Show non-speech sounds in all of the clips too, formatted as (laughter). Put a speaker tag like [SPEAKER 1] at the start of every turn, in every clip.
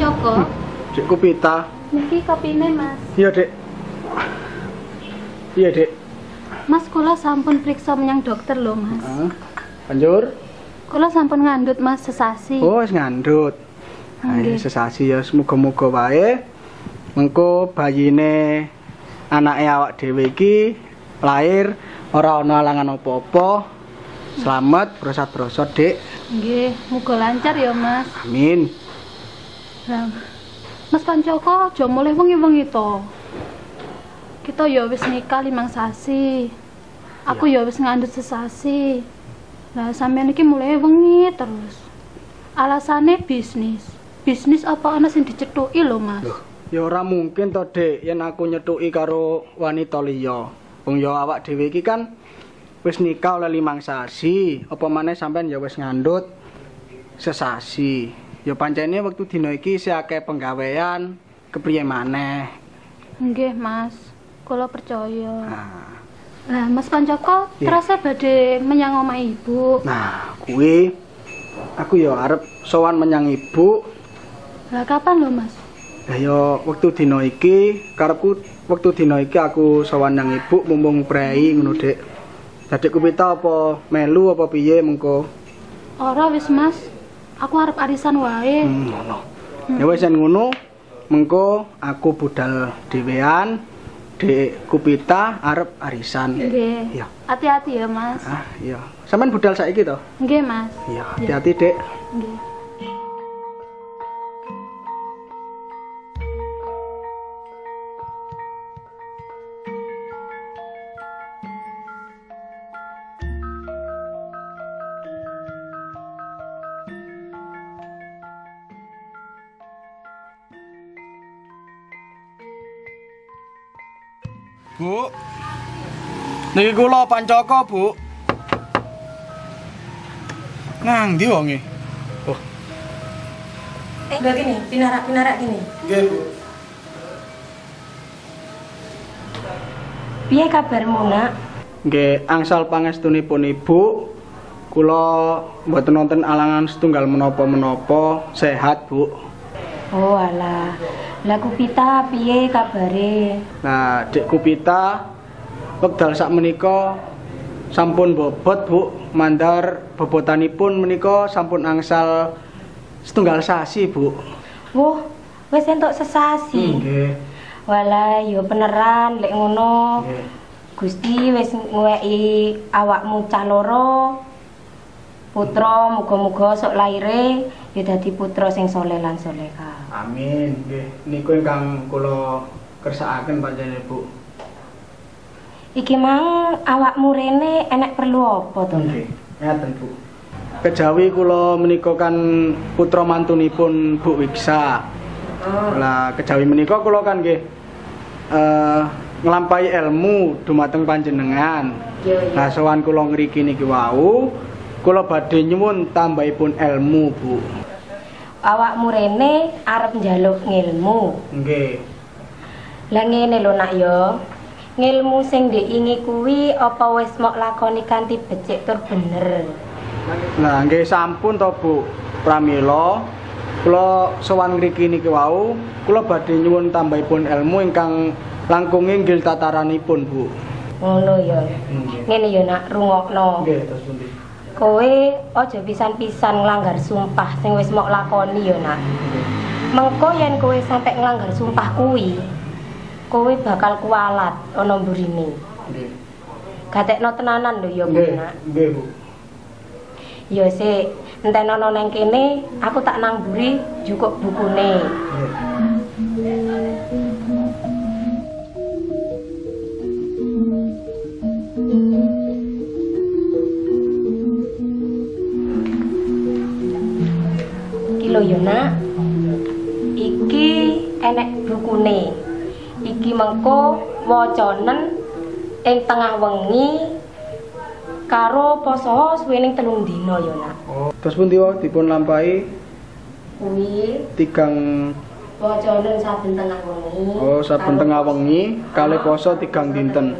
[SPEAKER 1] Joko.
[SPEAKER 2] Dek Kupita.
[SPEAKER 1] Niki kopine, Mas.
[SPEAKER 2] Iya, Dek. Iya, Dek.
[SPEAKER 1] Mas kula sampun periksa menyang dokter lho, Mas.
[SPEAKER 2] Heeh. Banjur,
[SPEAKER 1] Kula sampun ngandut Mas sesasi.
[SPEAKER 2] oh wis ngandhut.
[SPEAKER 1] Nggih.
[SPEAKER 2] Ayo sesasi ya muga-muga wae. Engko bayine anake awak dhewe iki lahir ora ana alangan apa-apa. Selamat brosot-brosot, Dek.
[SPEAKER 1] Nggih, muga lancar ya, Mas.
[SPEAKER 2] Amin.
[SPEAKER 1] Lah, Mas Pancoko aja mulai wengi-wengi to. Kita ya wis nikah limang sasi. Aku ya wis ngandut sesasi. Lah sampean iki mulai wengi terus. Alasane bisnis. Bisnis apa ana sing dicetuki lho, Mas?
[SPEAKER 2] Ya ora mungkin to, Dek, yen aku nyetuki karo wanita liya. Wong ya awak dhewe iki kan wis nikah oleh limang sasi, apa maneh sampean ya wis ngandhut sesasi. Ya pancene wektu dina iki isih akeh penggawean, kepriye maneh.
[SPEAKER 1] Nggih, Mas. Kula percaya.
[SPEAKER 2] Nah,
[SPEAKER 1] Lah, Mas Pancoko
[SPEAKER 2] Iya.
[SPEAKER 1] terasa badhe menyang omah Ibu.
[SPEAKER 2] nah kuwi aku ya arep sowan menyang ibu.
[SPEAKER 1] Lah kapan lho, Mas?
[SPEAKER 2] Lah ya wektu dina iki karepku wektu dina iki aku sowan nang ibu mumpung prei ngono, Dik. Dadi kupita apa melu apa piye mengko?
[SPEAKER 1] Ora wis, Mas. Aku arep arisan wae.
[SPEAKER 2] Hmm, ngono. Ya wis yen ngono, mengko aku budal dhewean, Dek Kupita arep arisan.
[SPEAKER 1] Nggih.
[SPEAKER 2] Iya.
[SPEAKER 1] Hati-hati ya, Mas.
[SPEAKER 2] Ah, iya. Sampeyan budal saiki to?
[SPEAKER 1] Nggih, Mas.
[SPEAKER 2] Iya, hati-hati, Dek.
[SPEAKER 1] Nggih.
[SPEAKER 2] Bu. Niki kula Pancaka, Bu. Nang ndi wonge? Oh,
[SPEAKER 3] Enggak Eh, gini, pinarak-pinarak gini.
[SPEAKER 2] nggih, Bu.
[SPEAKER 3] Piye kabarmu, Nak?
[SPEAKER 2] Nggih, angsal pangestunipun Ibu, kula mboten nonton alangan setunggal menapa-menapa, sehat, Bu.
[SPEAKER 3] Oh, alah. Lah Kupita piye kabare?
[SPEAKER 2] Nah, Dek Kupita wekdal sak menika sampun bobot, Bu. Mandar bobotanipun menika sampun angsal setunggal sasi, Bu.
[SPEAKER 3] Wah, wis entuk sesasi.
[SPEAKER 2] Hmm, Nggih.
[SPEAKER 3] Walah, yo beneran lek ngono.
[SPEAKER 2] nggih.
[SPEAKER 3] Gusti wis ngweki awakmu cah loro. Putra muga-muga sok laire ya dadi putra sing soleh lan soleha.
[SPEAKER 2] Amin. Nggih. Niku ingkang kula kersakaken panjenengan, Bu.
[SPEAKER 3] Iki mang awakmu rene enek perlu apa to? Nak?
[SPEAKER 2] Nggih. Ngaten, Bu. Kejawi kula menika kan putra mantunipun Bu Wiksa. Lah kejawi menika kula kan nggih eh nglampahi ilmu dumateng panjenengan.
[SPEAKER 3] Yo yo.
[SPEAKER 2] Nah, sowan kula ngriki niki wau, kula badhe nyuwun tambahipun ilmu, Bu.
[SPEAKER 3] Awakmu rene arep njaluk ngilmu.
[SPEAKER 2] Nggih.
[SPEAKER 3] Lah ngene lho nak yo. Ngilmu sing diingi kuwi apa wis mok lakoni kanthi becik tur bener.
[SPEAKER 2] Nah, nggih sampun to, Bu. Pramila kula sowan ngriki niki wau, kula badhe nyuwun tambahipun ilmu ingkang langkunge nggil tataranipun, Bu.
[SPEAKER 3] Ngono yo.
[SPEAKER 2] Nggih.
[SPEAKER 3] Ngene yo nak rungokno.
[SPEAKER 2] Nggih, terus pundi?
[SPEAKER 3] Kowe aja pisan-pisan nglanggar sumpah sing wis mok lakoni yo nak. Mengko yen kowe sampe nglanggar sumpah kuwi, kowe bakal kualat ana mburine.
[SPEAKER 2] Nggih.
[SPEAKER 3] Gatekno tenanan lho yo kuwi nak.
[SPEAKER 2] nggih, Bu.
[SPEAKER 3] Yo sik, entenono nang kene, aku tak nang mburi jukuk bukune.
[SPEAKER 2] Nggih.
[SPEAKER 3] Iki lho ya nak. Iki enek bukune. Iki mengko wacanen ing tengah wengi karo poso suwening telung dina ya nak.
[SPEAKER 2] Oh, terus pundi wau dipun lampahi
[SPEAKER 3] Kuwi
[SPEAKER 2] tigang
[SPEAKER 3] wacanen saben tengah wengi.
[SPEAKER 2] oh saben
[SPEAKER 3] karo-
[SPEAKER 2] tengah wengi kali poso tigang dinten.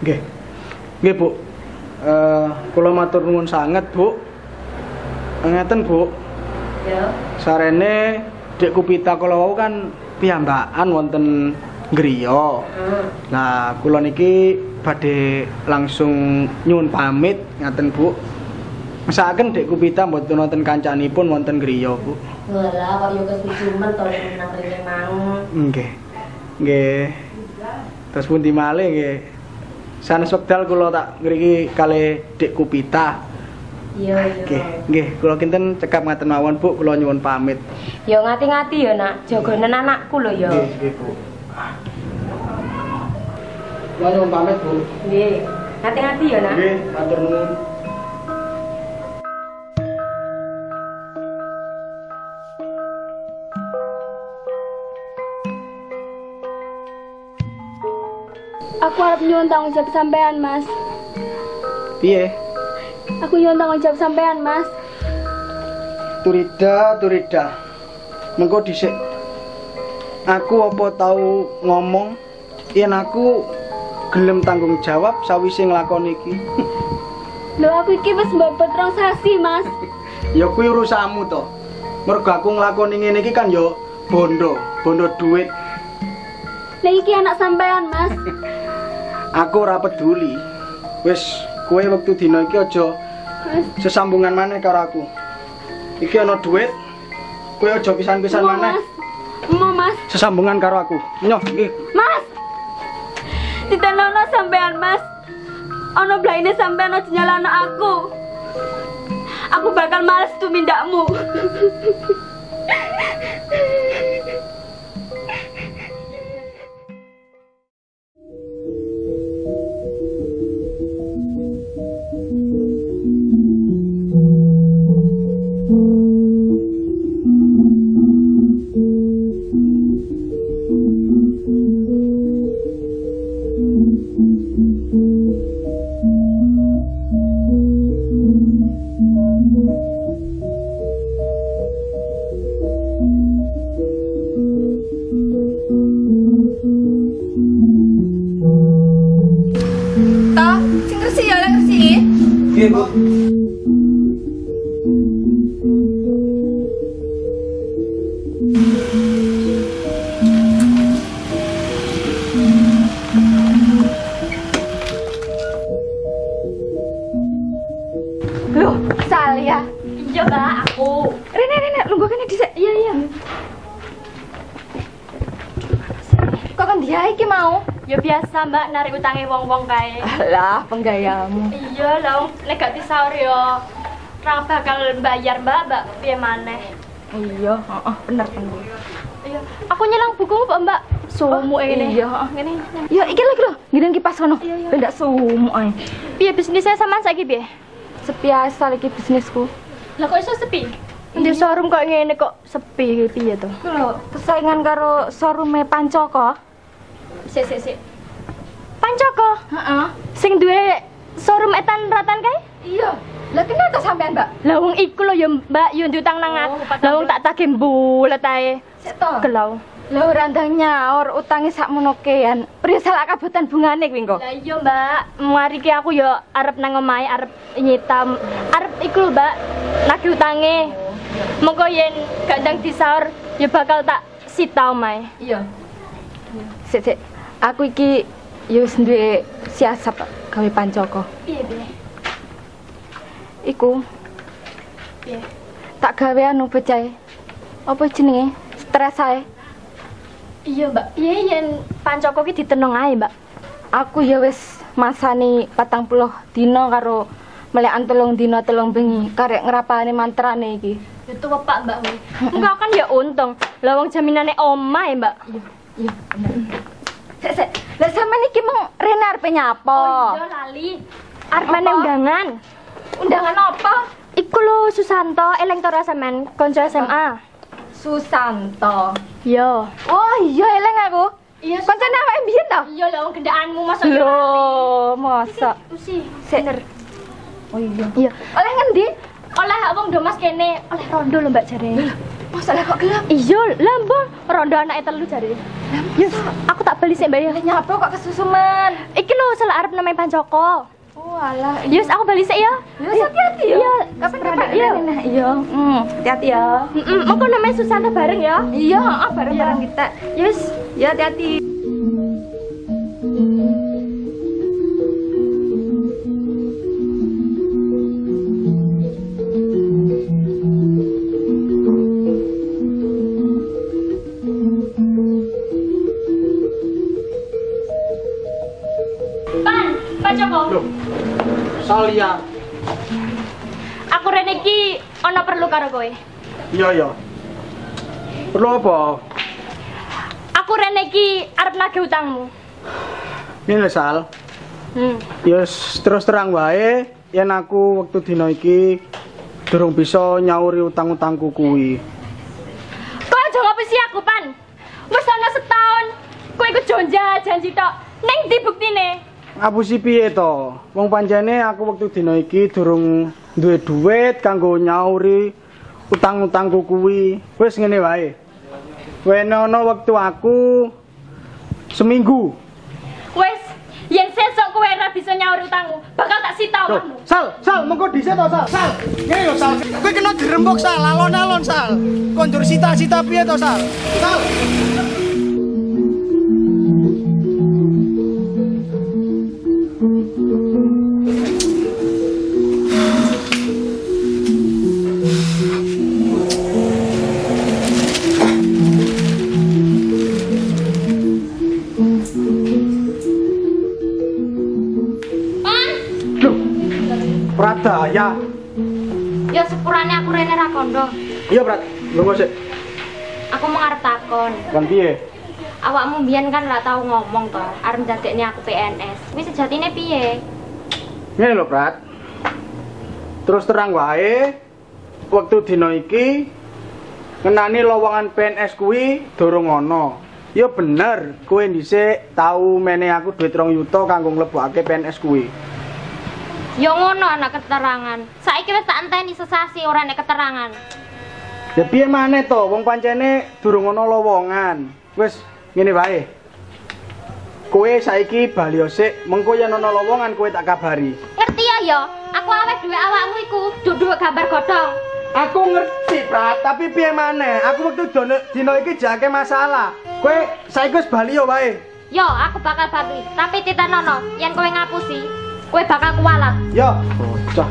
[SPEAKER 2] Nggih. Nggih, Bu. Eh, kula matur nuwun sanget, Bu. Ngeten, Bu.
[SPEAKER 3] Ya.
[SPEAKER 2] Sarene Dek Kupita kula wau kan piyambakan wonten griya.
[SPEAKER 3] Hmm.
[SPEAKER 2] Nah, kula niki badhe langsung nyuwun pamit ngaten Bu. Mesakaken Dek Kupita mboten wonten kancanipun wonten griya, Bu.
[SPEAKER 3] Walah, kok yo kesuciuman to nek nang rene mau.
[SPEAKER 2] Nggih. Nggih. Terus pundi malih nggih. Sanes wekdal kula tak ngriki kali Dek Kupita.
[SPEAKER 3] Iya,
[SPEAKER 2] Nggih,
[SPEAKER 3] iya.
[SPEAKER 2] nggih, kula kinten cekap ngaten mawon, Bu, kula nyuwun pamit.
[SPEAKER 3] Yo ngati-ngati yo, Nak. Jogonen anakku lho yo.
[SPEAKER 2] Nggih, nggih, Bu. Kula nyuwun pamit, Bu.
[SPEAKER 3] Nggih. Ngati-ngati yo, Nak.
[SPEAKER 2] Nggih, matur nuwun.
[SPEAKER 4] Aku harap nyuwun tanggung jawab sampean, Mas.
[SPEAKER 2] Piye?
[SPEAKER 4] Aku nyuwun tanggung jawab sampean, Mas.
[SPEAKER 2] Turida, Turida. Mengko dhisik. Aku apa tau ngomong yen aku gelem tanggung jawab sawise nglakoni iki.
[SPEAKER 4] Lho aku iki wis mbobot rong sasi, Mas.
[SPEAKER 2] ya kuwi urusanmu to. Mergo aku nglakoni ngene iki kan ya bondo, bondo duit.
[SPEAKER 4] Lah iki anak sampean, Mas.
[SPEAKER 2] Aku ora peduli. Wis, kowe wektu dina iki aja
[SPEAKER 4] Mas,
[SPEAKER 2] sesambungan maneh karo aku. Iki ana duit, kowe aja pisan-pisan
[SPEAKER 4] mau,
[SPEAKER 2] maneh
[SPEAKER 4] Mas. Mau, Mas.
[SPEAKER 2] sesambungan karo aku. Nyoh, nggih.
[SPEAKER 4] Mas. Ditenono sampean, Mas. Ono blaine sampean aja nyalano aku. Aku bakal males tumindakmu.
[SPEAKER 5] Toh, sing ngersi ya oleh ngersi.
[SPEAKER 2] Nggih, Bu.
[SPEAKER 5] Loh, kesal ya.
[SPEAKER 3] Iya, Mbak, aku.
[SPEAKER 5] Rene, Rene, lungguh kene dhisik. Iya, iya. Kok kan dia iki mau?
[SPEAKER 4] Ya biasa, Mbak, narik utange wong-wong kae.
[SPEAKER 5] Alah, penggayamu.
[SPEAKER 4] Iya, lah negatif sahur yo. Ra bakal bayar, Mbak, Mbak. Piye maneh?
[SPEAKER 5] Iya, heeh, bener bener.
[SPEAKER 4] Iya, aku nyelang bukumu kok, Mbak.
[SPEAKER 5] Oh,
[SPEAKER 4] Sumu ini.
[SPEAKER 5] iya,
[SPEAKER 4] oh, ngene.
[SPEAKER 5] Ya iki lagi lho, ngene kipas kono. Ben ndak sumu ae.
[SPEAKER 4] Piye bisnisnya sama saiki piye?
[SPEAKER 5] Sepi asal iki bisnisku.
[SPEAKER 4] Lah kok iso sepi?
[SPEAKER 5] Ndi showroom kok ngene kok sepi iki piye to? Lho, persaingan karo showroome Pancoko.
[SPEAKER 4] Sik sik sik.
[SPEAKER 5] Pancoko.
[SPEAKER 4] Heeh.
[SPEAKER 5] Sing duwe showroom etan ratan kae?
[SPEAKER 4] Iya.
[SPEAKER 5] Lah kenapa sampean, Mbak? Lah wong iku lho ya, Mbak, yo ndutang nang aku.
[SPEAKER 4] Oh, patang
[SPEAKER 5] Lah wong tak tagih mbulet ae.
[SPEAKER 4] Seto.
[SPEAKER 5] Gelau. Lah ora ndang nyaur utange sakmono kean. Priye salah kabutan bungane kuwi engko?
[SPEAKER 4] Lah iya, Mbak. Mari ki aku yo arep nang omahe arep nyita. Arep iku lho, Mbak. Nagih utange. Mengko yen gandang disaur ya bakal tak sita omahe.
[SPEAKER 5] Iya. Sik, sik. Aku iki yo wis duwe siasat Pak, gawe pancoko.
[SPEAKER 4] Piye piye?
[SPEAKER 5] Iku
[SPEAKER 4] Piye?
[SPEAKER 5] tak gawe anu pecahe. Apa jenenge? Stres ae.
[SPEAKER 4] Iya, Mbak. Piye yen pancoko ki ditenong ae, Mbak?
[SPEAKER 5] Aku ya wis masani patang puluh dina karo melekan telung dina telung bengi karek ngrapani mantrane iki.
[SPEAKER 4] Ya tuwa Pak, Mbak.
[SPEAKER 5] (laughs) Engko kan ya untung. Lah wong jaminane omae, Mbak. Iya, iya. Sik, sik. Lah sampean iki mong rene arepe nyapa?
[SPEAKER 4] Oh, iya lali.
[SPEAKER 5] Arep meneh undangan.
[SPEAKER 4] Undangan apa?
[SPEAKER 5] Iku lho Susanto, elektora sampean, kanca SMA.
[SPEAKER 4] Susanto.
[SPEAKER 5] Yo. Oh, iya eleng aku.
[SPEAKER 4] Iya, Sus-
[SPEAKER 5] Kancane awake mbiyen to?
[SPEAKER 4] Iya lah wong gendaanmu masa
[SPEAKER 5] Lho, mosok.
[SPEAKER 4] Usi.
[SPEAKER 5] Sik. Oh iya. Iya. Oleh ngendi?
[SPEAKER 4] Oleh wong do Mas kene, oleh rondo lho Mbak jare.
[SPEAKER 5] Mosok lah kok gelap.
[SPEAKER 4] Iya, lambung rondo anake telu jare. Yes, aku tak beli sik Mbak ya.
[SPEAKER 5] Nyapa kok kesusuman? Oh,
[SPEAKER 4] Iki lho salah arep namanya Pancoko.
[SPEAKER 5] Walah,
[SPEAKER 4] Yus, aku balik sik ya.
[SPEAKER 5] Yus, iya. hati-hati ya.
[SPEAKER 4] Iya,
[SPEAKER 5] kapan-kapan
[SPEAKER 4] iya.
[SPEAKER 5] ya. Nah, iya. Hmm, hati-hati ya.
[SPEAKER 4] Mm-mm, Monggo namanya Susana bareng ya.
[SPEAKER 5] Iya, heeh, bareng-bareng kita.
[SPEAKER 4] Yus,
[SPEAKER 5] Ya, hati-hati.
[SPEAKER 4] Pan, Pak Joko,
[SPEAKER 2] Loh, Salia.
[SPEAKER 4] aku rene iki ana perlu karo kowe.
[SPEAKER 2] Iya, iya. Perlu apa?
[SPEAKER 4] Aku rene iki arep nagih utangmu.
[SPEAKER 2] Ini lho, Sal.
[SPEAKER 4] Hmm.
[SPEAKER 2] Ya s- terus terang wae, yen aku wektu dina iki durung bisa nyauri utang-utangku kuwi.
[SPEAKER 4] Kok aja ngopesi aku, Pan. Wis ana setahun kowe iku jonja janji tok. Ning ndi buktine?
[SPEAKER 2] Apusi piye to? Wong pancene aku wektu dina iki durung duwe duit kanggo nyauri utang-utangku kuwi. Wis ngene wae. Wenono wektu aku seminggu.
[SPEAKER 4] Wis, yen sesuk kowe ora bisa nyaur utangmu, bakal tak sita
[SPEAKER 2] Loh,
[SPEAKER 4] omahmu.
[SPEAKER 2] Sal, Sal, mengko dhisik to, Sal. Sal, ngene lho, Sal. Kowe kena dirembuk, Sal, alon-alon, Sal. Konjur sita-sita piye to, Sal? Sal. Loh, Pradaya.
[SPEAKER 4] Ya sepurane aku rene ra kondo.
[SPEAKER 2] Iya, Prat. Lungo sik.
[SPEAKER 4] Aku mau ngarep takon.
[SPEAKER 2] Kon piye?
[SPEAKER 4] Awakmu mbiyen kan ra tau ngomong to, arep dadekne aku PNS. Wis sejatine piye?
[SPEAKER 2] Ngene lho, Prat. Terus terang wae, waktu dina iki ngenani lowongan PNS kuwi durung ana. Ya bener, kowe dhisik tau mene aku duit rong yuta kanggo mlebokake PNS kuwi.
[SPEAKER 4] Ya ngono anak keterangan. Saiki wis tak enteni sesasi ora nek keterangan.
[SPEAKER 2] Ya piye maneh to, wong pancene durung ana lowongan. Wis ngene wae. Kowe saiki bali sik, mengko yen ana lowongan kowe tak kabari.
[SPEAKER 4] Ngerti ya yo, aku awet duwe awakmu iku, duduk gambar godhong.
[SPEAKER 2] Aku ngerti, Prat, tapi piye maneh? Aku wektu dono- dina iki jake masalah. Kowe saiki wis bali yo wae.
[SPEAKER 4] Yo, aku bakal bagi, tapi titanono, yen kowe ngapusi, kowe bakal kualat.
[SPEAKER 2] Yo, bocah.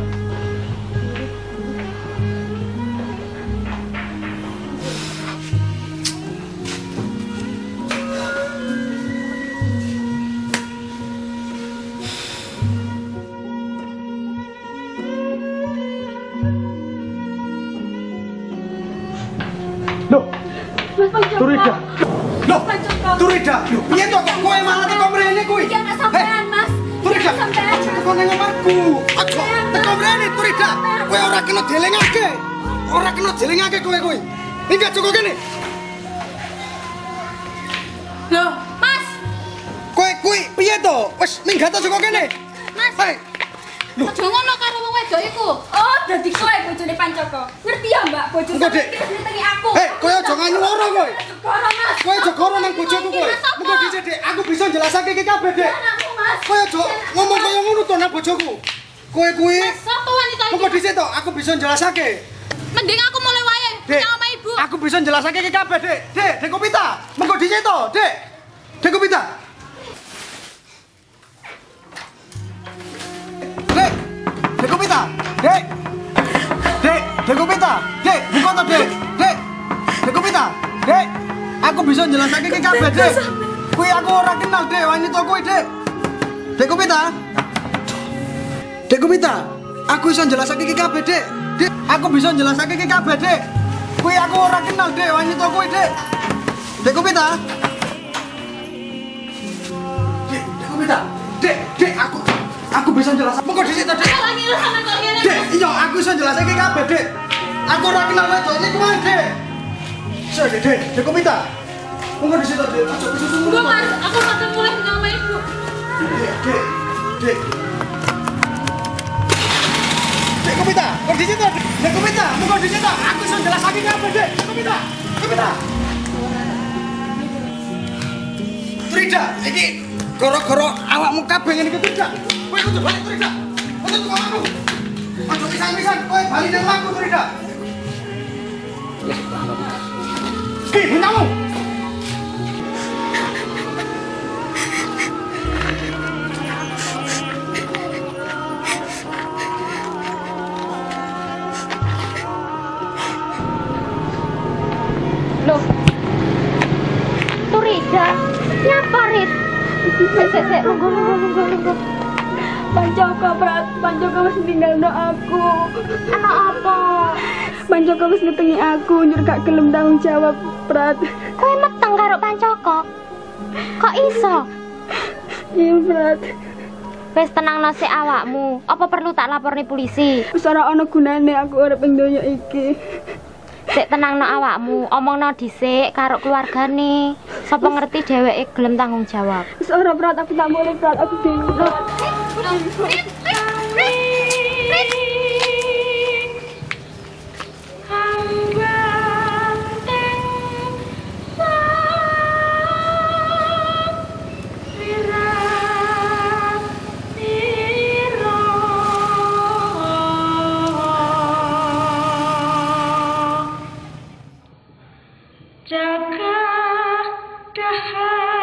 [SPEAKER 2] Loh, Turida. Loh, Turida. Loh, piye to kok kowe malah teko mrene kuwi?
[SPEAKER 5] Iki anak sampean,
[SPEAKER 2] Hei,
[SPEAKER 5] Mas.
[SPEAKER 2] Turida. Aja teko nang omarku. Aja teko mrene Turida. Kowe ora kena delengake. Ora kena delengake kowe kowe. Minggir cukup kene.
[SPEAKER 5] Loh, Mas.
[SPEAKER 2] Kowe kuwi piye to? Wis minggat to cukup kene.
[SPEAKER 5] Mas.
[SPEAKER 2] Hei,
[SPEAKER 5] Aja ngono karo wong wedok iku. Oh, dadi kowe bojone Pancoko. Ngerti ya, Mbak? Bojo
[SPEAKER 2] Engko, Dek.
[SPEAKER 5] iki nyenengi aku.
[SPEAKER 2] Hei, kowe aja nganyuwara kowe.
[SPEAKER 5] Jogoro, Mas.
[SPEAKER 2] kowe jogoro nang bojoku kowe. Mengko
[SPEAKER 5] Mengko
[SPEAKER 2] dhisik, Dek. Aku bisa jelasake iki kabeh, Dek.
[SPEAKER 5] Anakmu, Mas.
[SPEAKER 2] Kowe aja ngomong kaya ngono to nang bojoku. Kowe kuwi
[SPEAKER 5] Mas, sapa wanita iki?
[SPEAKER 2] Mengko dhisik to, aku bisa jelasake.
[SPEAKER 5] Mending aku mulai wayahe
[SPEAKER 2] Dek,
[SPEAKER 5] sama ibu.
[SPEAKER 2] Aku bisa jelasake iki kabeh, Dek. Dek, Dek Kopita. Mengko dhisik to, Dek. Dek Kopita. Dek. Dek Kopita. Dek. Dek, Dek Kopita. Dek, buka to, Dek. Dek. Dek Kopita. Dek. Aku bisa jelasake iki kabeh, Dek. Kuwi aku ora kenal, Dek, wanita kuwi, Dek. Dek Kopita. Dek Kumita, aku bisa jelasake iki kabeh, Dek. Dek, aku bisa jelasake iki kabeh, Dek. Kuwi aku ora kenal, Dek, wanita kuwi, Dek. Dek Kumita. Dek, Dek Kumita. Dek, Dek, aku aku bisa jelasake. Mengko dhisik to, Dek.
[SPEAKER 5] Lagi lu sama kok ngene.
[SPEAKER 2] Dek, iya, aku bisa jelasake iki kabeh, Dek. Aku ora kenal wedok iki kuwi, Dek. Sik, Dek, Dek, Dek Kumita. Mengko dhisik to, Dek. Ojo bisa sungguh.
[SPEAKER 5] Engko, Mas, aku bakal mulai sama ibu.
[SPEAKER 2] Dek, Dek, Dek. Dek Komita, kok di situ? Dek Komita, Eh, muka di situ. Aku iso jelas lagi apa, Dek? Dek Komita, Komita. Trida, iki goro-goro awakmu kabeh ngene iki Trida. Kowe kudu balik Trida.
[SPEAKER 6] Misan, misan, kowe bali nang laku Frida. Ki, bintangmu.
[SPEAKER 1] Loh. Turida, nyapa Rit? Sik sik sik, lungguh lungguh lungguh lungguh.
[SPEAKER 5] Panjaka prat, Panjaka wis ninggalno aku.
[SPEAKER 1] Anak apa?
[SPEAKER 5] Panjaka wis ngetengi aku, nyur gak gelem tanggung jawab prat.
[SPEAKER 1] Kowe meteng karo Pancoko. Kok iso?
[SPEAKER 5] Iya prat.
[SPEAKER 1] Wis tenangno sik awakmu. Apa perlu tak laporni polisi?
[SPEAKER 5] Wis ora ana gunane aku urip ing donya iki.
[SPEAKER 1] Sik tenangno awakmu. Omongno dhisik karo keluargane. Sapa ngerti dheweke gelem tanggung jawab.
[SPEAKER 5] Wis ora prat, aku tak boleh prat, aku bingung. Prat.
[SPEAKER 4] Jaga dahar
[SPEAKER 5] Eh,